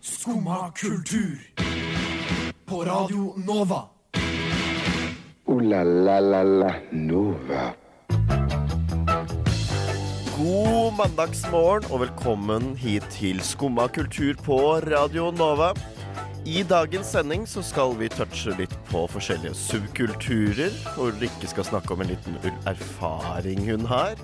Skumma kultur. På Radio Nova. Ooh la la la la Nova. God mandagsmorgen og velkommen hit til Skumma kultur på Radio Nova. I dagens sending så skal vi touche litt på forskjellige subkulturer, og Rikke skal snakke om en liten erfaring hun har.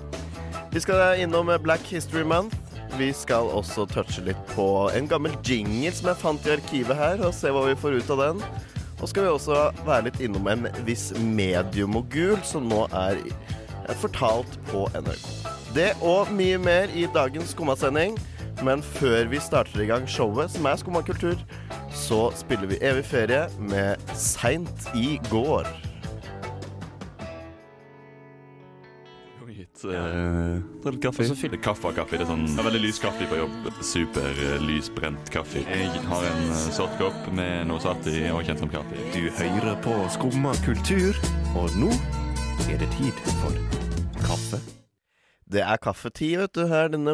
Vi skal innom Black History Month. Vi skal også touche litt på en gammel jingle som jeg fant i arkivet her, og se hva vi får ut av den. Og skal vi også være litt innom en viss mediemogul som nå er fortalt på NRK. Det og mye mer i dagens Skumma-sending. Men før vi starter i gang showet, som er Skumma kultur, så spiller vi Evig ferie med Seint i går. Gitt, ta eh, litt kaffe. Og så fyller kaffe av kaffe. Det er sånn, jeg har veldig lys kaffe på jobb. Super eh, lysbrent kaffe. Jeg har en eh, sort kopp med noe satt i og kjent som kaffe. Du hører på Skumma kultur, og nå er det tid for kaffe. Det er kaffetid, vet du, her denne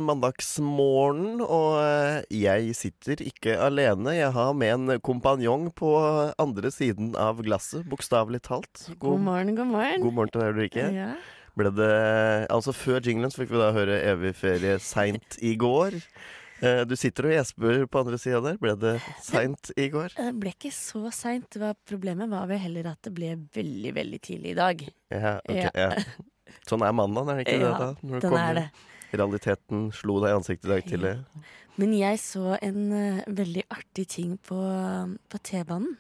mandagsmorgenen. Og eh, jeg sitter ikke alene. Jeg har med en kompanjong på andre siden av glasset, bokstavelig talt. God morgen, god morgen. god morgen til deg, Ulrikke. Ja. ble det Altså før jinglen så fikk vi da høre Evig ferie seint i går. Eh, Du sitter og gjesper på andre sida der. Ble det seint i går? Eh, Det ble ikke så seint. Problemet var vel heller at det ble veldig veldig tidlig i dag. Ja, ok, Ja. ja. Sånn er mandagen, er det ikke Ja, det? da? Når du Den kommer. er det. Realiteten slo deg i ansiktet i dag tidlig. Men jeg så en eh, veldig artig ting på, på T-banen.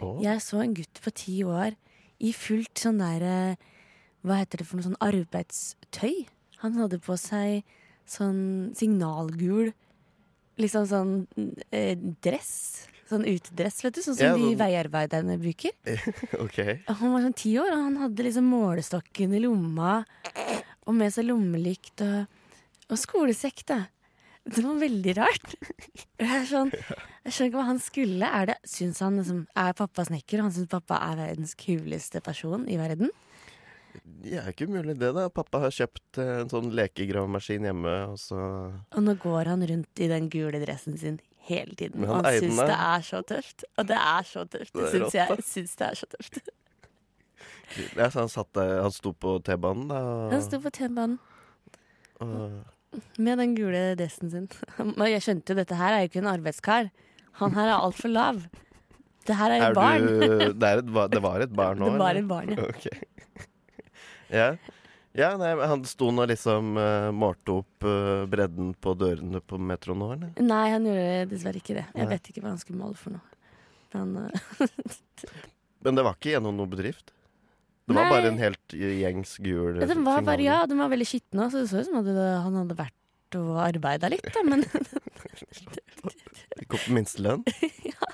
Å. Jeg så en gutt på ti år i fullt sånn der eh, Hva heter det for noe sånn arbeidstøy? Han hadde på seg sånn signalgul Liksom sånn eh, dress. Sånn utedress, vet du. Sånn som Ja, de sånn- veiarbeiderne bruker. Ok. Han var sånn ti år, og han hadde liksom målestokken i lomma. Og med seg lommelykt og, og skolesekk, da. Det var veldig rart. Jeg, er sånn, jeg skjønner ikke hva han skulle. Er, det, syns han liksom, er pappa snekker, og han syns pappa er verdens kuleste person i verden? Det er ikke umulig, det. da Pappa har kjøpt eh, en sånn lekegravemaskin hjemme, og så Og nå går han rundt i den gule dressen sin hele tiden. Men Og han han eide syns den, det da. er så tøft. Og det er så tøft. Det er Det rått, syns da. jeg syns det er så tøft. ja, så han, satt der, han sto på T-banen, da. og- Han sto på T-banen og- Med den gule dressen sin. Men jeg skjønte jo dette her er jo ikke en arbeidskar. Han her er altfor lav. Det her er jo Er barn. du, det, er et, ba- det var et barn nå? det var eller? et barn, ja. Ok. ja. Ja, nei, men Han sto nå liksom uh, målte opp eh, bredden på dørene på metroen nå, eller? Nei, han gjorde dessverre ikke det. Jeg Nei. vet ikke hva han skulle måle for noe. Men han, eh, Men det var ikke gjennom noen bedrift? Det var Nei. bare en helt gjengs gul den var bare, signal. ja, den var veldig skitten òg, så det så ut som at det- han hadde vært og arbeida litt, da. Men Ikke opp på minstelønn? ja.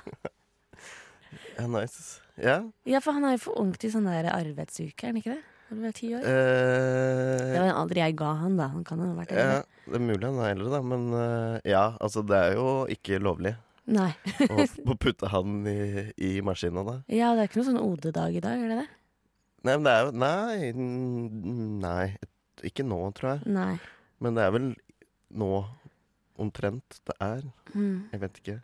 Nice. Ja. ja, for han er jo for ung til sånn der arbeidsuke, er han ikke det? Når du er ti år. Eh, Det var en alder jeg ga han, da. Han kan jo ha vært ja. eldre. Det er mulig han er eldre, da, men eh, ja, altså det er jo ikke lovlig Nei. å å putte han i, i maskina, da. Ja, det er ikke noe sånn OD-dag i dag, er det det? Nei, men det er jo Nei, n- nei. Ikke nå, tror jeg. Nei. Men det er vel nå omtrent det er. Mm. Jeg vet ikke.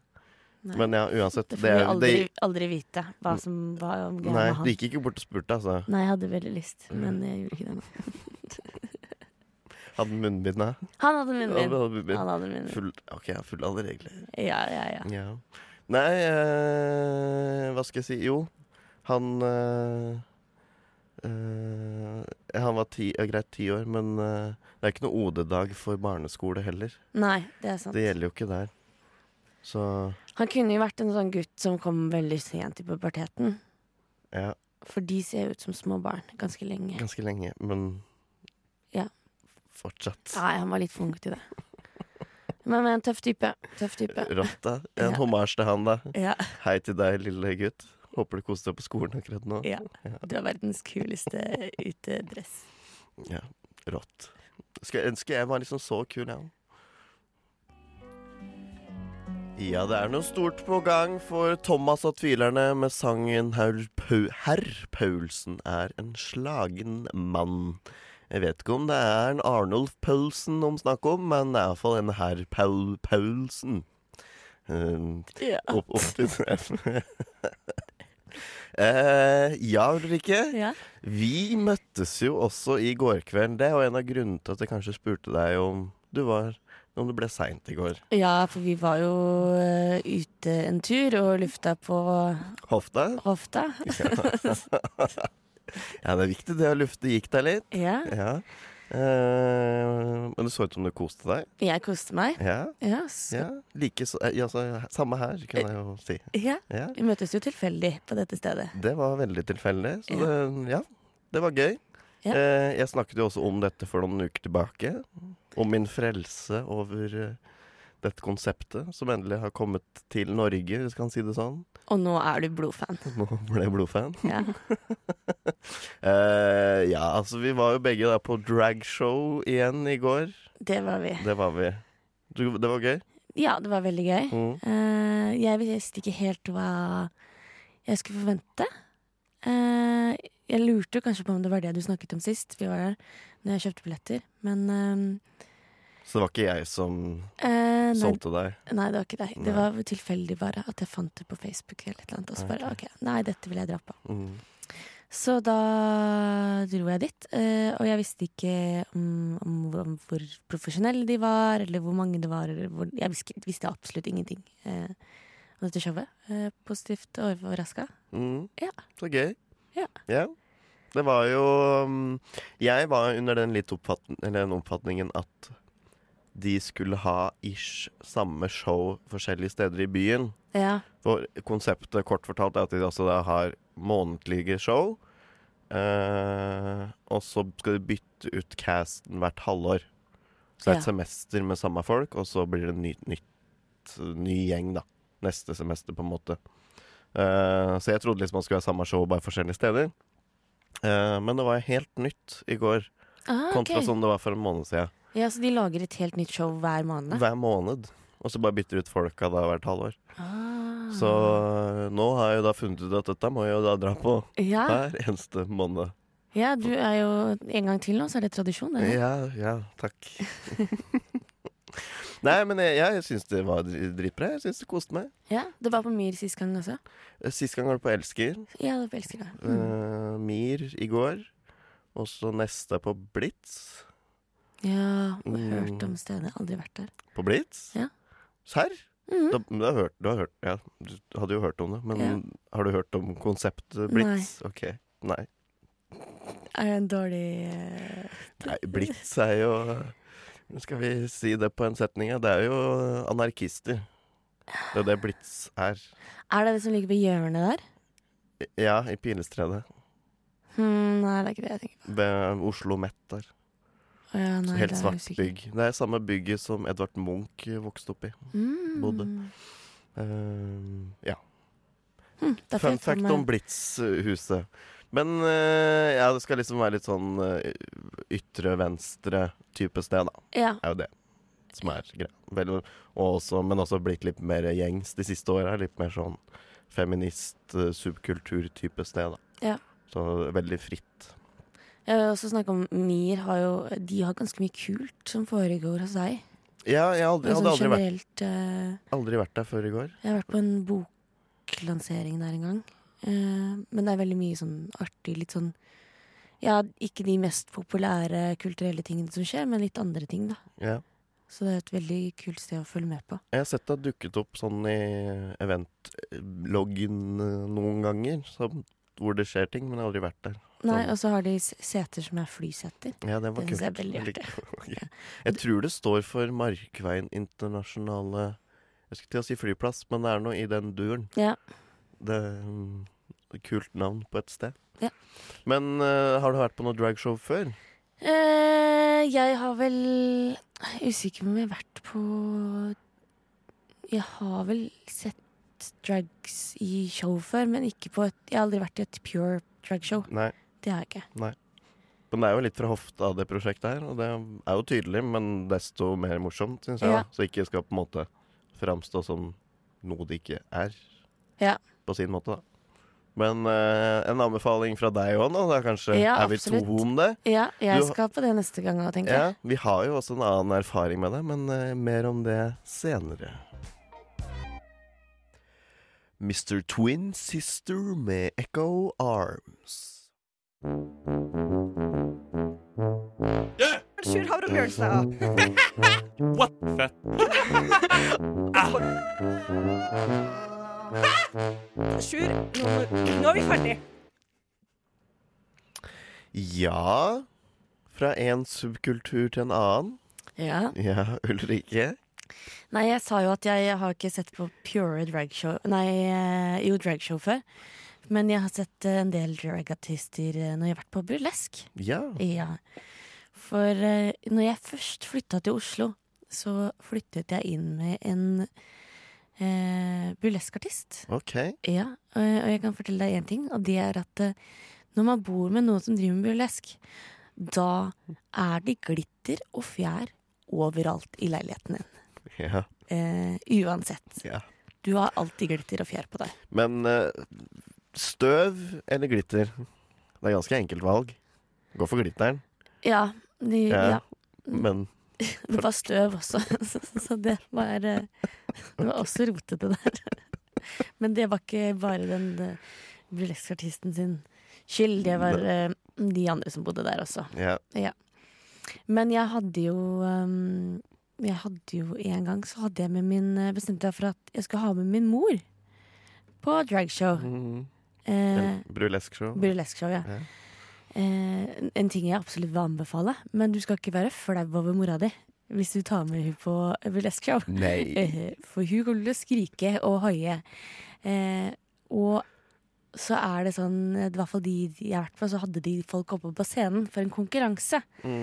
Nei. Men ja, uansett. Det Det, får vi er- aldri, det, Mm. aldri vite hva som var nei, greia med han. de gikk ikke Mm. bort og spurte, altså. Nei, jeg hadde veldig lyst, men jeg gjorde ikke det. nå. Hadde munnbind, da. Han hadde munnbind. Hadde munnbind. Han hadde munnbind. Full, ok, jeg er full av alle regler. Ja, ja, ja. Ja. Nei, eh, hva skal jeg si? Jo, han eh, eh, Han var ti, ja, greit ti år, men eh, det er ikke noe OD-dag for barneskole heller. Nei, det er sant. Det gjelder jo ikke der. Så Han kunne jo vært en sånn gutt som kom veldig sent i puberteten. ja, For de ser jo ut som små barn ganske lenge. ganske lenge, men Ja. fortsatt. Nei, han var litt for ung til det. Men, men tøff type. Tøff type. Rått, da. En Ja. hommage til han, da. Ja, Hei til deg, lille gutt. Håper du koser deg på skolen akkurat nå. ja. Du er verdens kuleste utedress. Ja, rått. Skulle ønske jeg var liksom så kul, jeg. Ja, det er noe stort på gang for Thomas og Tvilerne med sangen Herr, Pau Herr Paulsen er en slagen mann. Jeg vet ikke om det er en Arnulf Paulsen om snakk om, men det er iallfall en herr Paul Paulsen. eh, Ja. opp, opp til Eh, ja, Ulrikke. Ja. Vi møttes jo også i går kveld. Det var en av grunnene til at jeg kanskje spurte deg om du, var, om du ble seint i går. ja, for vi var jo eh, ute en tur og lufta på Hofta? hofta. Ja, det er viktig det å lufte. Gikk deg litt? Ja. Ja. Eh, men det så ut som du koste deg. Jeg koste meg. Ja. Ja, så, ja. Like så, eh, ja, så- samme her, kan jeg jo si. ja. Ja. Vi møtes jo tilfeldig på dette stedet. Det var veldig tilfeldig. Så Ja. det, ja, det var gøy. Ja. Eh, jeg snakket jo også om dette for noen uker tilbake. Om min frelse over eh, dette konseptet som endelig har kommet til Norge, hvis jeg kan si det sånn. Og nå er du blodfan. Nå ble jeg blodfan. Ja. Eh, ja, altså vi var jo begge der på dragshow igjen i går. Det var vi. Det var vi. Du, det var gøy. Ja, det var veldig gøy. Mm. Eh, jeg visste ikke helt hva jeg skulle forvente. Eh, jeg lurte jo kanskje på om det var det du snakket om sist vi var der, når jeg kjøpte billetter. Men Så det var ikke jeg som eh, eh, nei, solgte deg. nei, det var ikke deg. Nei. Det var tilfeldig bare at jeg fant det på Facebook eller et eller annet. Og så bare ok, nei, dette vil jeg dra på. Mm. Så da dro jeg dit, eh, og jeg visste ikke om, om, hvor- om hvor profesjonelle de var, eller hvor mange det var. Eller hvor, jeg visste, visste absolutt ingenting eh, om dette showet. Eh, positivt overraska. Mm. Ja. Så gøy. Ja. Det var jo um, Jeg var under den litt oppfatning, eller den oppfatningen at de skulle ha ish samme show forskjellige steder i byen. Ja. For konseptet, kort fortalt, er at de altså da har månedlige show. eh, og så skal de bytte ut casten hvert halvår. Så det er et Ja. semester med samme folk, og så blir det ny, nytt, ny gjeng da neste semester, på en måte. Eh, så jeg trodde liksom man skulle ha samme show, bare forskjellige steder. Eh, men det var helt nytt i går, Ah, kontra sånn. ok. som det var for en måned siden. ja, Så de lager et helt nytt show hver måned? Hver måned. Og så bare bytter ut folka da hvert halvår. Ah. Så eh, nå har jeg jo da funnet ut at dette må jeg jo da dra på ja, hver eneste måned. ja, du er jo En gang til nå, så er det tradisjon. det. Ja, ja, takk. Nei, men jeg, jeg syns det var dri- dritbra. Jeg syns det koste meg. Eh, Ja, det var på Myr sist gang også. Sist gang var det på Elsker. Ja, det var på Elsker. da. Mm. eh, Mir i går. Og så neste er på Blitz. Ja, Mm. hørt om stedet. Aldri vært der. På Blitz? Ja. Serr? Mhm. Da- men Du, har hørt- du har hørt Ja, du hadde jo hørt om det. Men Ja. har du hørt om konseptet Blitz? Nei. Ok. Nei. Er det en dårlig eh, Nei, Blitz er jo Nå Skal vi si det på en setning? ja. Det er jo anarkister. Det er det Blitz er. Er det det som ligger ved hjørnet der? Ja, i Pilestredet. Hmm, nei, det er ikke det jeg tenker på. Ved Oslo Met der. Å ja, nei, Helt det er svart usikker. bygg. Det er samme bygget som Edvard Munch vokste opp i. Mm. bodde. Eh, ja. Hm, da får Fun jeg ta fact meg- om Blitz-huset. Men eh, ja, det skal liksom være litt sånn eh, ytre venstre-type sted, da. Ja, er jo det som er greia. Vel, og også, men også blitt litt mer gjengs de siste åra. Litt mer sånn feminist-subkultur-type sted. Da. Ja. Så veldig fritt. jeg vil også snakke om Mir har jo De har ganske mye kult som foregår hos deg. Ja, jeg, aldri, jeg hadde Men sånn aldri vært, generelt eh, aldri vært der før i går. Jeg har vært på en boklansering der en gang. Eh, men det er veldig mye sånn artig, litt sånn Ja, ikke de mest populære kulturelle tingene som skjer, men litt andre ting, da. Ja. Så det er et veldig kult sted å følge med på. Jeg har sett det har dukket opp sånn i eventloggen eh, noen ganger, som, hvor det skjer ting, men jeg har aldri vært der. Nei, Sånn. og så har de s- seter som er flyseter. Ja, det var Det synes kult. jeg er veldig Jeg liker- Ok. Jeg tror det står for Markveien internasjonale Jeg skulle til å si flyplass, men det er noe i den duren. Ja. Det er mm, et kult navn på et sted. Ja. Men eh, har du vært på noe dragshow før? Eh, jeg har vel jeg er Usikker på om jeg har vært på Jeg har vel sett drags i show før, men ikke på et Jeg har aldri vært i et pure dragshow. Nei. Det har jeg ikke. Men det er jo litt fra hofta, det prosjektet her. Og det er jo tydelig, men desto mer morsomt, syns jeg. Ja. da. Så ikke skal på en måte framstå som noe det ikke er. Ja. På sin måte, da. Men eh, en anbefaling fra deg òg nå, da kanskje? Ja, er vi absolutt. to om det? Ja, jeg Du- skal på det neste gang òg, tenker jeg. Ja, vi har jo også en annen erfaring med det, men eh, mer om det senere. Mr. Twin Sister med Echo Arms. Sjur Havre Bjørnstad. What fett? Ah! Ah! Sjur, nå, må- nå er vi ferdig. Ja Fra en subkultur til en annen. Ja. Ja, Ulrikke. Nei, jeg sa jo at jeg har ikke sett på pure dragshow Nei, eh, jo, dragshow før. Men jeg har sett eh, en del dragartister eh, når jeg har vært på burlesk. Ja. Ja. For eh, når jeg først flytta til Oslo, så flyttet jeg inn med en eh, burleskartist. OK. Ja, og, og jeg kan fortelle deg én ting, og det er at eh, når man bor med noen som driver med burlesk, da er det glitter og fjær overalt i leiligheten din. Ja. Eh, uansett. Ja. Du har alltid glitter og fjær på deg. Men eh, støv eller glitter? Det er ganske enkelt valg. Gå for glitteren, Ja, de, Ja. ja. men det var støv også, så, så- så det var eh, Det var også rotete der. Men det var ikke bare den eh, burleskartisten sin skyld, det var eh, de andre som bodde der også. ja. Men jeg hadde jo um, Jeg hadde jo en gang så hadde jeg med min eh, bestemte jeg for at jeg skulle ha med min mor på dragshow. Eh, Brulesk show. Burlesque-show, ja. Mm. Ja. Eh, en- en ting jeg absolutt vil anbefale, men du skal ikke være flau over mora di hvis du tar med hun på burlesque-show. Nei. Eh, For hun kommer til å skrike og hoie. Eh, og så er det sånn, i hvert fall de jeg har vært på, så hadde de folk oppe på scenen for en konkurranse. Mm.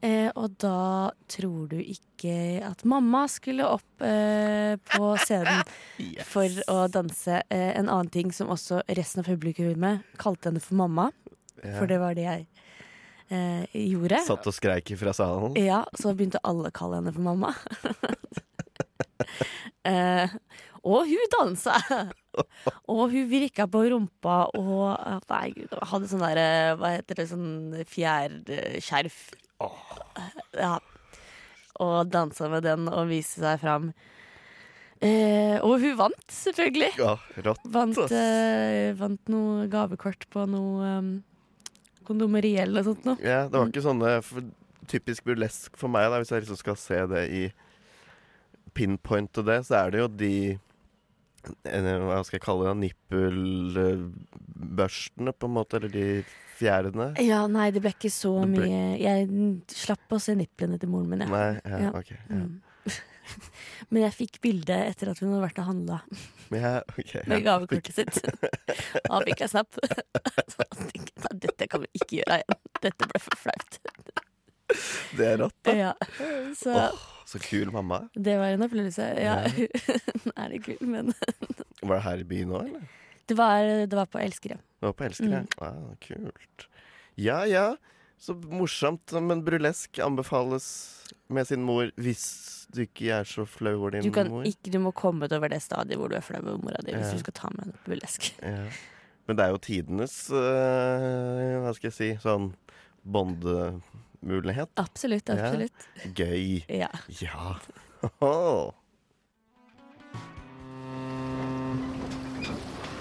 Eh, og da tror du ikke at mamma skulle opp eh, på scenen for å danse. Eh, en annen ting som også resten av publikummet kalte henne for mamma, Ja. for det var det jeg eh, gjorde. Satt og skreik fra salen. Ja, så begynte alle å kalle henne for mamma. eh, og hun dansa! Og hun virka på rumpa og eh, nei, gud, og hadde sånn derre Hva heter det? Sånn fjærskjerf. Ja. Og dansa med den og viste seg fram. Eh, og hun vant, selvfølgelig. Ja, rått. Vant, ass. eh, vant noe gavekort på noe um, kondomeri eller noe sånt. Noe. Ja, det var ikke sånne for, typisk burlesk for meg, da, hvis jeg liksom skal se det i pinpoint og det, så er det jo de eh, Hva skal jeg kalle det? Nippelbørstene, på en måte? Eller de fjærene? Ja, nei, det ble ikke så Det ble- mye Jeg slapp å se nipplene til moren min, jeg. Nei, ja, Ja. Mm. ok. Ja. Men jeg fikk bilde etter at hun hadde vært og handla Ja, ok. med gavekortet sitt. Da fikk jeg snap. Så jeg tenkte, nei, dette kan vi ikke gjøre igjen. Dette ble for flaut. Det er rått. Ja. Så Åh, så kul mamma. det var en opplevelse. Ja, hun er litt kul, men Var det her i byen òg, eller? det var, det var på Elsker, ja. Det var på Elsker, Mm. ja. Ah, kult. Ja ja, så morsomt. Men brulesk anbefales med sin mor hvis du ikke er så flau over din Du, kan, mor. ikke, du må komme ut over det stadiet hvor du er flau over mora di hvis Ja. du skal ta med henne på burlesk. Ja. Men det er jo tidenes eh, Hva skal jeg si sånn bondemulighet. Absolutt, Ja. absolutt. Gøy. Ja. Ja. Åhå.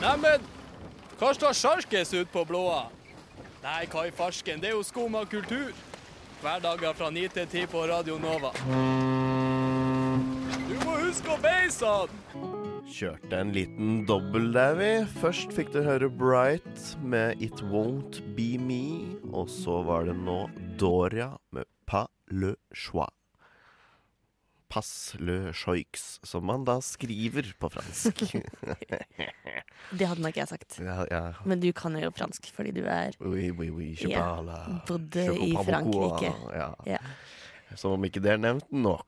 Neimen, hva står sjarkes ut på blåa? Nei, hva i farsken, det er jo skum av kultur. Hverdager fra 9 til 10 på Radio Nova. Du må huske å beise han! Kjørte en liten dobbel der, vi. Først fikk du høre Bright med It Won't Be Me. Og så var det nå Doria med Pas le choix. Pas le choix, som man da skriver på fransk. Det hadde nok jeg sagt. ja, ja. Men du kan jo fransk fordi du er Oui, oui, oui, je Ja. parle. Bodde Je i comprends beaucoup, Frankrike. Ja. Ja. Som om ikke det er nevnt nok.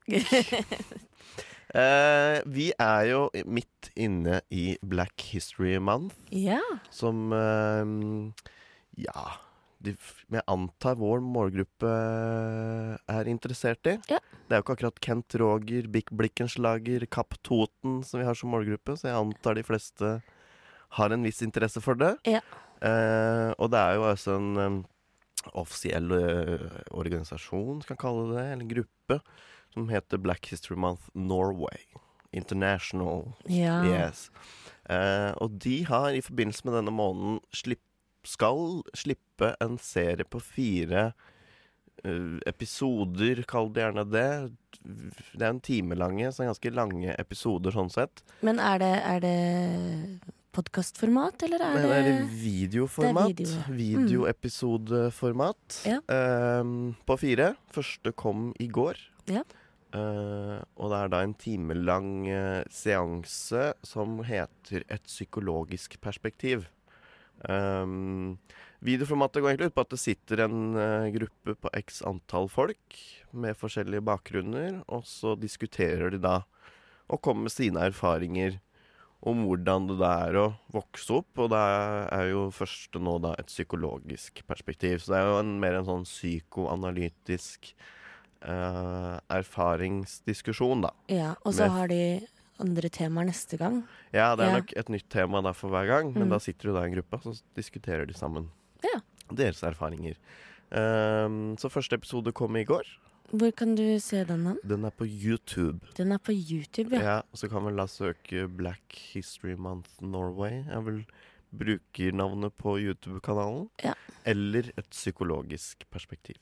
Eh, vi er jo midt inne i Black History Month. Ja. Som eh, Ja de, f- Jeg antar vår målgruppe eh, er interessert i. Ja. Det er jo ikke akkurat Kent Roger, Bik Blikkenslager, Kapp Toten som vi har som målgruppe, så jeg antar de fleste har en viss interesse for det. Ja. Eh, og det er jo altså en eh, offisiell eh, organisasjon, skal jeg kalle det, eller en gruppe, som heter Black History Month Norway International. ja. Yes. Eh, og de har i forbindelse med denne måneden slipp, skal slippe en serie på fire eh, episoder, kall det gjerne det. Det er en timelange, så ganske lange episoder sånn sett. Men er det, er det podkastformat, eller er Men det er det videoformat? det er video, ja. Mm. Videoepisodeformat Ja. eh, på fire. Første kom i går. Ja. Eh, og det er da en timelang eh, seanse som heter Et psykologisk perspektiv. Ehm, videoformatet går egentlig ut på at det sitter en eh, gruppe på x antall folk med forskjellige bakgrunner, og så diskuterer de da og kommer med sine erfaringer om hvordan det da er å vokse opp. Og det er jo først nå da et psykologisk perspektiv. Så det er jo en, mer en sånn psykoanalytisk eh, erfaringsdiskusjon, da. Ja, og så Med- har de andre temaer neste gang. Ja, det er Ja. nok et nytt tema da for hver gang, men Mm. da sitter du da i en gruppe og så diskuterer de sammen Ja. deres erfaringer. Ehm, så første episode kom i går. Hvor kan du se den? hen? Den er på YouTube. Den er på YouTube, ja. Ja, så kan vel da søke Black History Month Norway. Er vel brukernavnet på YouTube-kanalen. Ja. Eller et psykologisk perspektiv.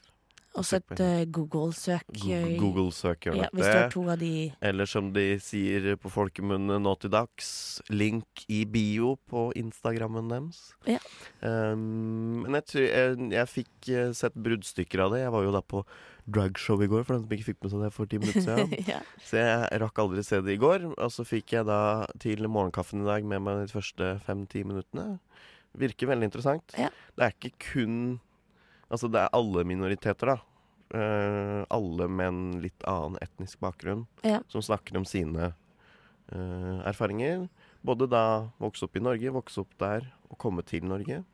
Også søk på et eh, Google-søk. eh, Go- Google søker Ja, ja, hvis du har to av de Eller som de sier på folkemunne nå til dags, link i bio på Instagrammen deres. Ja. Ehm, men jeg, tror, jeg, jeg fikk eh, sett bruddstykker av det. Jeg var jo da på dragshow i går, for den som ikke fikk med seg det for ti minutter siden. ja. Så jeg rakk aldri se det i går. Og så fikk jeg da til morgenkaffen i dag med meg de første fem-ti minuttene. Virker veldig interessant. Ja. Det er ikke kun Altså, det er alle minoriteter, da. Eh, alle med en litt annen etnisk bakgrunn Ja. som snakker om sine eh, erfaringer. Både da vokse opp i Norge, vokse opp der og komme til Norge.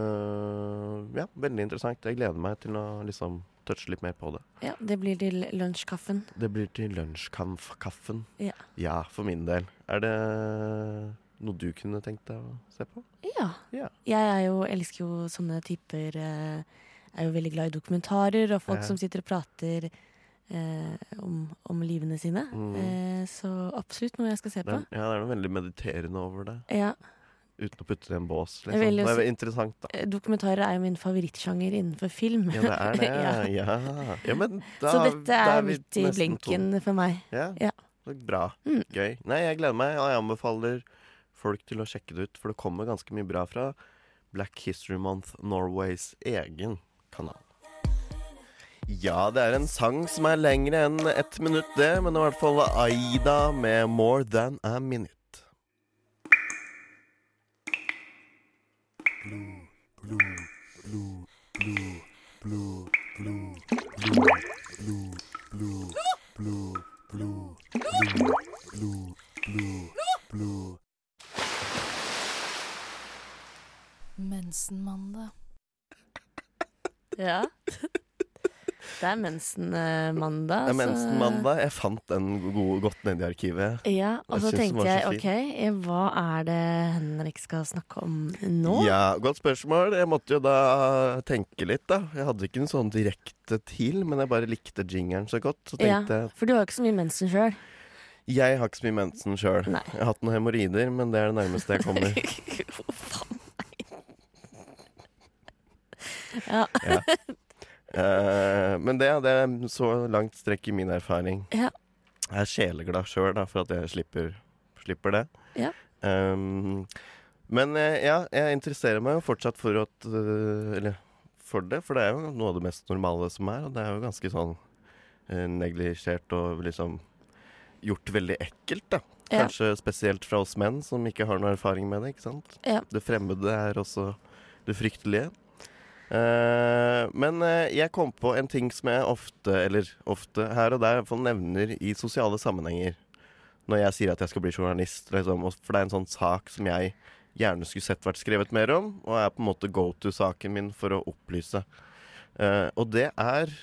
Eh, ja, veldig interessant. Jeg gleder meg til å liksom touche litt mer på det. ja, det blir til lunsjkaffen. Det blir til lunsjkaffen. Ja. ja, for min del. Er det noe du kunne tenkt deg å se på? Ja. Ja. Jeg er jo, elsker jo sånne typer eh, Er jo veldig glad i dokumentarer og folk Ja. som sitter og prater eh, om, om livene sine. Mm. Eh, så absolutt noe jeg skal se Det på. er, ja, det er noe veldig mediterende over det. Ja, Uten å putte det i en bås. Jeg vil Liksom. jo Det er si- interessant, da. eh, Dokumentarer er jo min favorittsjanger innenfor film. Ja, det er det. Ja. ja. Ja, men da, så dette da er vi midt i nesten to. blinken for meg. Ja. Ja. Mm. Så bra. Gøy. Nei, jeg gleder meg, og jeg anbefaler folk til å sjekke det ut, for det kommer ganske mye bra fra Black History Month Norways egen kanal. Ja, det er en sang som er lengre enn ett minutt, det, men det er i hvert fall Aida med 'More Than A Minute'. Mensenmandag. Ja. Det er mensenmandag. Det er Mensenmandag. Jeg fant den go- godt nede i arkivet. Ja, og Jeg så synes den tenkte var jeg så ok, hva er det Henrik skal snakke om nå? Ja, Godt spørsmål. Jeg måtte jo da tenke litt, da. Jeg hadde ikke en sånn direkte til, men jeg bare likte jingeren så godt. Så Ja, tenkte jeg for du har jo ikke så mye mensen sjøl. Jeg har ikke så mye mensen sjøl. Nei. Jeg har hatt noen hemoroider, men det er det nærmeste jeg kommer. Ja. Eh, men det, det er så langt strekk i min erfaring. Ja. Jeg er sjeleglad sjøl for at jeg slipper, slipper det. Ja. Ehm, men eh, ja, jeg interesserer meg jo fortsatt for at eh, Eller for det, for det er jo noe av det mest normale som er, og det er jo ganske sånn eh, neglisjert og liksom gjort veldig ekkelt, da. Ja. Kanskje spesielt fra oss menn som ikke har noe erfaring med det, ikke sant? Ja. Det fremmede er også det fryktelige. Eh, men eh, jeg kom på en ting som jeg ofte, eller ofte her og der, i hvert fall nevner i sosiale sammenhenger. Når jeg sier at jeg skal bli journalist, liksom, og- for det er en sånn sak som jeg gjerne skulle sett vært skrevet mer om, og er på en måte go to-saken min for å opplyse. Eh, og det er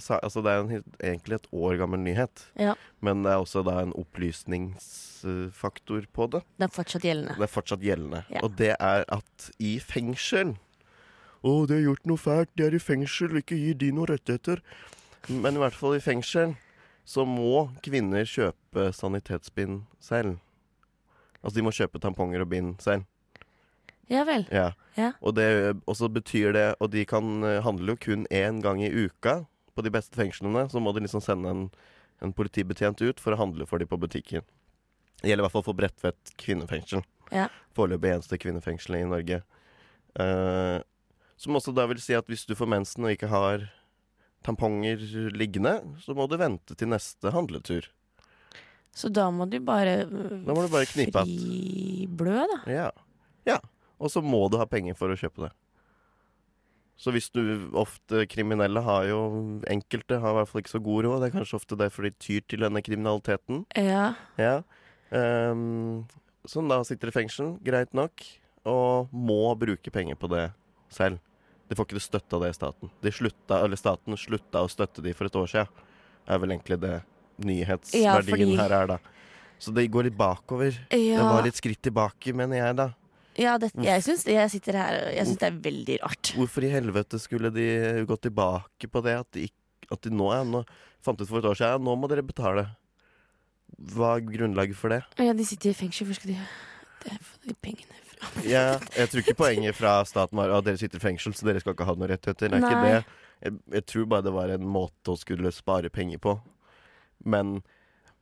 sa- Altså, det er en, helt- egentlig et år gammel nyhet, Ja. men det er også da en opplysningsfaktor på det. Det er fortsatt gjeldende. Det er fortsatt gjeldende. Ja. Og det er at i fengsel Å, de har gjort noe fælt. De er i fengsel. Ikke gi de noen rettigheter. Men i hvert fall i fengsel så må kvinner kjøpe sanitetsbind selv. Altså, de må kjøpe tamponger og bind selv. Ja vel. Ja. Ja. Og, det, og så betyr det Og de kan eh, handle jo kun én gang i uka på de beste fengslene. Så må de liksom sende en, en politibetjent ut for å handle for de på butikken. Det gjelder i hvert fall for Bredtvet kvinnefengsel. Ja. Foreløpig eneste kvinnefengselet i Norge. Eh, som også da vil si at hvis du får mensen og ikke har tamponger liggende, så må du vente til neste handletur. Så da må du bare øh, Da må du bare knipe att. friblø, da. Ja. ja. Og så må du ha penger for å kjøpe det. Så hvis du ofte kriminelle har jo Enkelte har i hvert fall ikke så god råd. Det er kanskje ofte derfor de tyr til denne kriminaliteten. Ja. Ja. Ehm, som da sitter i fengsel, greit nok, og må bruke penger på det selv. De får ikke det støtte av det i staten. De slutta, eller staten slutta å støtte de for et år siden. Er vel egentlig det nyhetsverdien Ja, fordi- her er, da. Så det går litt bakover. Det Ja, var litt skritt tilbake, mener jeg, da. ja det, jeg syns jeg sitter her og jeg syns det er veldig rart. Hvorfor i helvete skulle de gå tilbake på det? At de, ikk- at de nå, ja, nå fant ut for et år siden ja, nå må dere betale. Hva er grunnlaget for det? Ja, de sitter i fengsel. Hvor skal de det er for de pengene fra? Jeg, jeg tror ikke poenget fra staten var at dere sitter i fengsel, så dere skal ikke ha noen rettigheter. Det er Nei. ikke det. Jeg, jeg tror bare det var en måte å skulle spare penger på. Men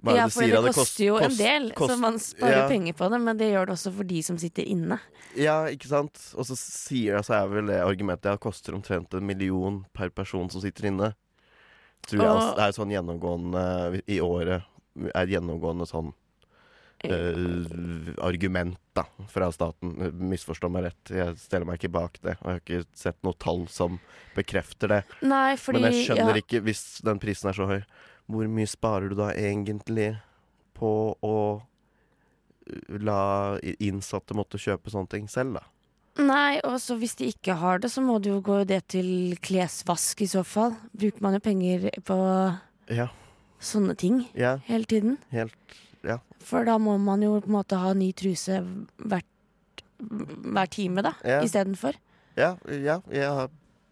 hva er Ja, det du for sier? det da? kost- koster jo en kost- del, så kost- man sparer ja. penger på det. Men det gjør det også for de som sitter inne. Ja, ikke sant? Og så sier jeg, så er vel det argumentet ja, det koster omtrent en million per person som sitter inne. Tror jeg Og- altså, det er sånn gjennomgående i året. Er gjennomgående sånn eh, argument da fra staten. Misforstå meg rett, jeg stiller meg ikke bak det. Og jeg har ikke sett noe tall som bekrefter det. Nei, fordi Men jeg skjønner ja, ikke, hvis den prisen er så høy, hvor mye sparer du da egentlig på å eh, la innsatte måtte kjøpe sånne ting selv, da? Nei, og så hvis de ikke har det, så må det jo gå det til klesvask i så fall. Bruker man jo penger på Ja, sånne ting ja, hele tiden. helt For da må man jo på en måte ha ny truse hvert, hver time, da, Ja. istedenfor. Ja, ja, ja.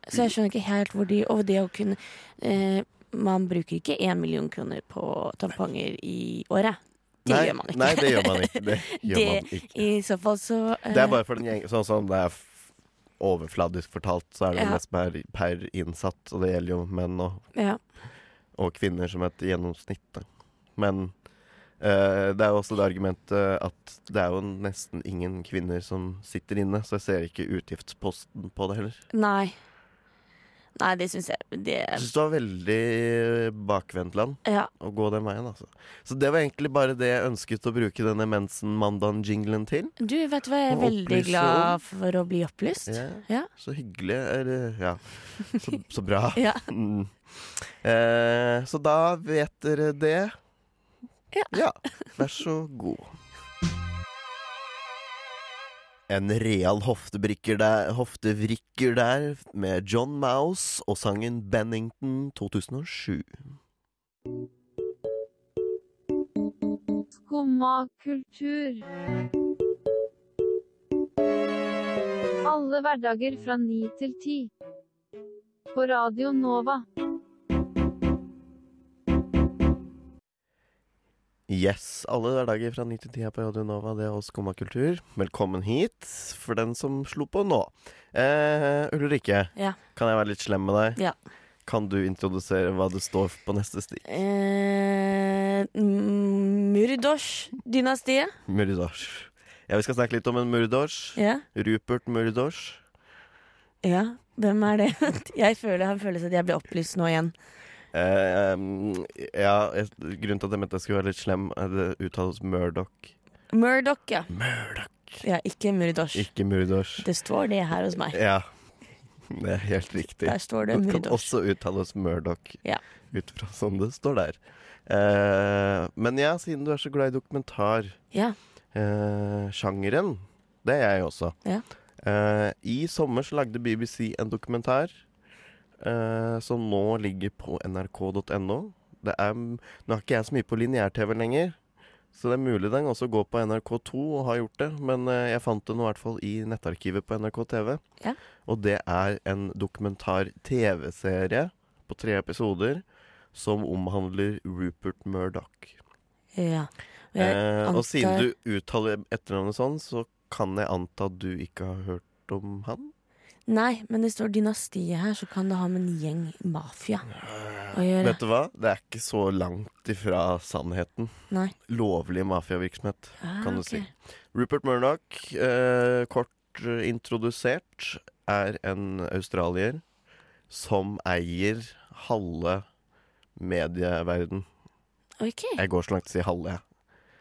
Så jeg skjønner ikke helt hvor de Og det å kunne eh, Man bruker ikke én million kroner på tamponger i året. Det nei, gjør man ikke. Nei, det gjør man ikke. Det, gjør Det- man ikke. I så fall så eh, det er bare for den gjeng Sånn som det er f- overfladisk fortalt, så er det Ja. mest per, per innsatt, og det gjelder jo menn og, eh, ja. og kvinner som et gjennomsnitt. Da. Men eh, det er jo også det argumentet at det er jo nesten ingen kvinner som sitter inne, så jeg ser ikke utgiftsposten på det heller. Nei. Nei, det syns jeg det, Jeg syns det var veldig bakvendtland. Ja. å gå den veien, altså. Så det var egentlig bare det jeg ønsket å bruke denne Mensen-mandagen-jinglen til. Du, vet du hva, jeg er Og veldig opplyse om- glad for å bli opplyst. Ja. Ja. Så hyggelig. Eller, ja. Så, så bra. Ja. Mm. Eh, så da vet dere det. Ja. Vær så god. En real hoftebrikker der, hoftevrikker der med John Mouse og sangen Bennington 2007. Skumma kultur. Alle hverdager fra ni til ti. På Radio Nova. Yes, alle hverdager fra 9 til 10 her på Radio Nova, det er oss Skumma kultur. Velkommen hit, for den som slo på nå. Eh, Ulrikke, Ja. kan jeg være litt slem med deg? Ja. Kan du introdusere hva det står på neste sti? Eh, mm, Murdosh-dynastiet. Murdors. Ja, vi skal snakke litt om en murdors. Ja. Rupert Murdors. ja, hvem er det? Jeg føler, har en følelse at jeg blir opplyst nå igjen. Eh, em, ja, jeg- grunnen til at jeg mente jeg skulle være litt slem, er det uttales Murdoch. Murdoch, ja. Murdoch. ja ikke Murdosh. Ikke Murdors. Det står det her hos meg. Ja, det er helt riktig. Der står det Det kan Murdosh. også uttales Murdoch, Ja. ut fra sånn det står der. Eh, men ja, siden du er så glad i dokumentar, Ja. eh, sjangeren, det er jeg også. Ja. Eh, I sommer så lagde BBC en dokumentar eh, som nå ligger på nrk.no. Det er, nå er ikke jeg så mye på lineær-TV lenger, så det er mulig den også går på NRK2 og har gjort det, men eh, jeg fant den i hvert fall i nettarkivet på NRK TV. Ja. Og det er en dokumentar-TV-serie på tre episoder som omhandler Rupert Murdoch. ja. Og Jeg Eh, og antar- siden du uttaler etternavnet sånn, så kan jeg anta du ikke har hørt om han? Nei, men det står dynastiet her, så kan det ha med en gjeng mafia å gjøre. Vet du hva? Det er ikke så langt ifra sannheten. Nei. Lovlig mafiavirksomhet, Ah, kan du ok. si. Rupert Murdoch, eh, kort eh, introdusert, er en australier som eier halve medieverden. Ok. Jeg går så langt til å si halve. jeg.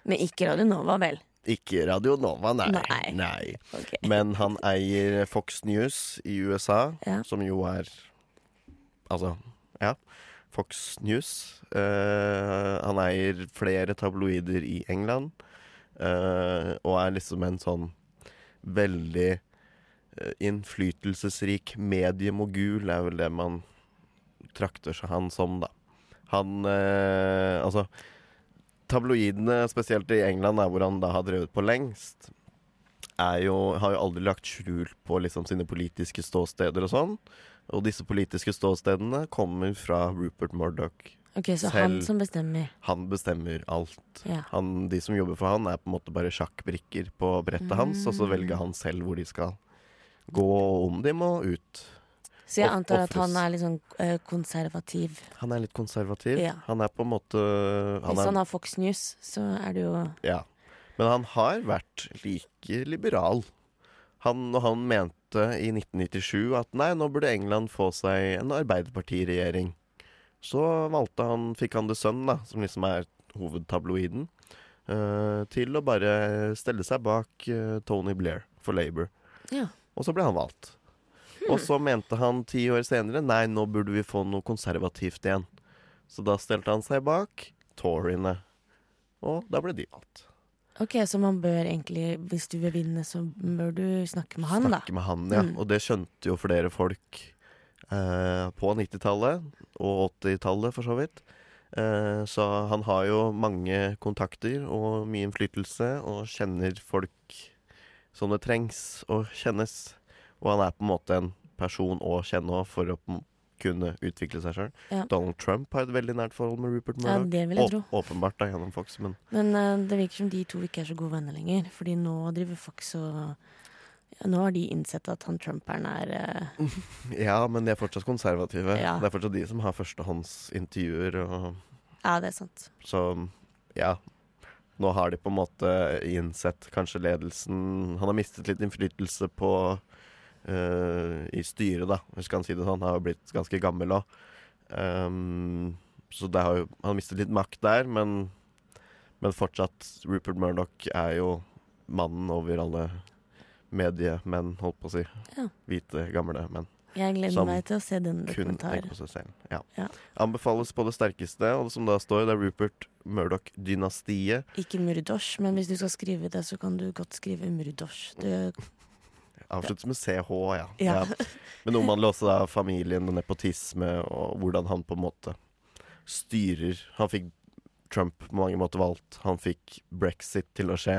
Men ikke Radio Nova, vel? Ikke Radio Nova, nei. Nei. Ok. Men han eier Fox News i USA, Ja. som jo er Altså, ja. Fox News. Eh, han eier flere tabloider i England. eh, og er liksom en sånn veldig eh, innflytelsesrik mediemogul, er vel det man trakter seg han som, da. Han eh, Altså, tabloidene, spesielt i England, er hvor han da har drevet på lengst, er jo, har jo aldri lagt skjul på liksom sine politiske ståsteder og sånn. Og disse politiske ståstedene kommer fra Rupert Murdoch. Ok, Så han Selv. som bestemmer. Han bestemmer alt. Ja. Han, de som jobber for han, er på en måte bare sjakkbrikker på brettet hans, og så velger han selv hvor de skal gå, og om de må ut. Så jeg Off- antar at han office. er litt sånn eh, konservativ. Han er litt konservativ. Ja. sånn Han er på en måte han Hvis er, han har Fox News, så er det jo Ja. Men han har vært like liberal. Han, og han mente i 1997 at nei, nå burde England få seg en arbeiderpartiregjering. Så valgte han, fikk han The Sun, da, som liksom er hovedtabloiden, eh, til å bare stelle seg bak eh, Tony Blair for Labour. Ja. Og så ble han valgt. Og så mente han ti år senere nei, nå burde vi få noe konservativt igjen. Så da stelte han seg bak toryene. Og da ble de valgt. Ok, så man bør egentlig, hvis du vil vinne, så bør du snakke med han, da. Snakke med han, ja. Mm. Og det skjønte jo flere folk eh, på 90-tallet, og 80-tallet for så vidt. Eh, så han har jo mange kontakter og mye innflytelse, og kjenner folk som det trengs å kjennes. Og han er på en måte en person å kjenne også for å på en- kunne utvikle seg sjøl. Ja. Donald Trump har et veldig nært forhold med Rupert Ja, Murdoch. det vil jeg Åp- tro. Åpenbart da, gjennom Fox, men Men eh, det virker som de to ikke er så gode venner lenger. Fordi nå driver Fox og ja, Nå har de innsett at han Trumperen er eh, Ja, men de er fortsatt konservative. Ja. Det er fortsatt de som har førstehåndsintervjuer. Og, Ja, det er sant. så ja. Nå har de på en måte innsett kanskje ledelsen Han har mistet litt innflytelse på eh, i styret, da, hvis jeg kan si det sånn. Han har jo blitt ganske gammel òg. så det har jo, han har mistet litt makt der, men, men fortsatt Rupert Murdoch er jo mannen over alle mediemenn, holdt på å si. Ja. Hvite, gamle menn Jeg gleder Som meg til å se den kun dokumentaren. tenke på seg selv. Ja. Ja. Anbefales på det sterkeste, og det som da står, det er Rupert Murdoch-dynastiet. Ikke Murdosh, men hvis du skal skrive det, så kan du godt skrive Murdosh. Det, Avsluttes med CH, ja. Ja. Men omhandler også da familien og nepotisme, og hvordan han på en måte styrer. Han fikk Trump på mange måter valgt. Han fikk brexit til å skje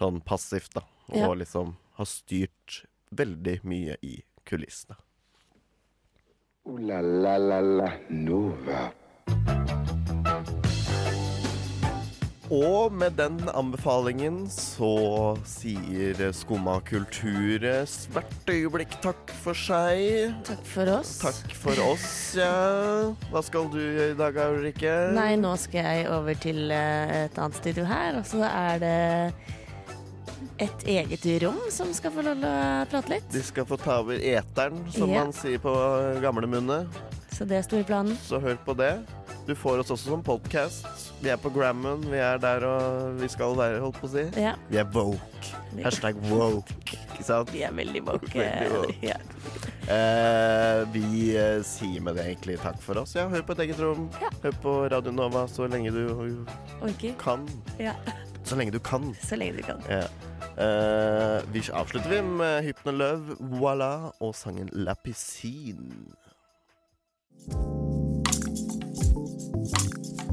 sånn passivt, da. Og Ja. liksom har styrt veldig mye i kulissene. Ooh la la la la Nova. Og med den anbefalingen så sier Skumma kultur hvert øyeblikk takk for seg. takk for oss. Takk for oss, ja. Hva skal du gjøre i dag, Ulrikke? Nei, nå skal jeg over til eh, et annet studio her, og så er det et eget rom som skal få lov til å prate litt. De skal få ta over eteren, som Ja. man sier på gamlemunne. Så det er storplanen. Så hør på det. Du får oss også som podkast. Vi er på Grammon, vi er der og vi skal være, holdt på å si. Ja, Vi er woke. Hashtag woke. Ikke sant? vi er veldig woke. Veldig woke. Ja. Eh, vi eh, sier med det egentlig takk for oss. Ja, hør på et eget rom. Hør på Radio Nova så lenge du Orker. kan. Ja. Så lenge du kan. Så lenge du kan. Ja. Eh, vi avslutter vi med Hypnoløv, voilà, og sangen La Piscine.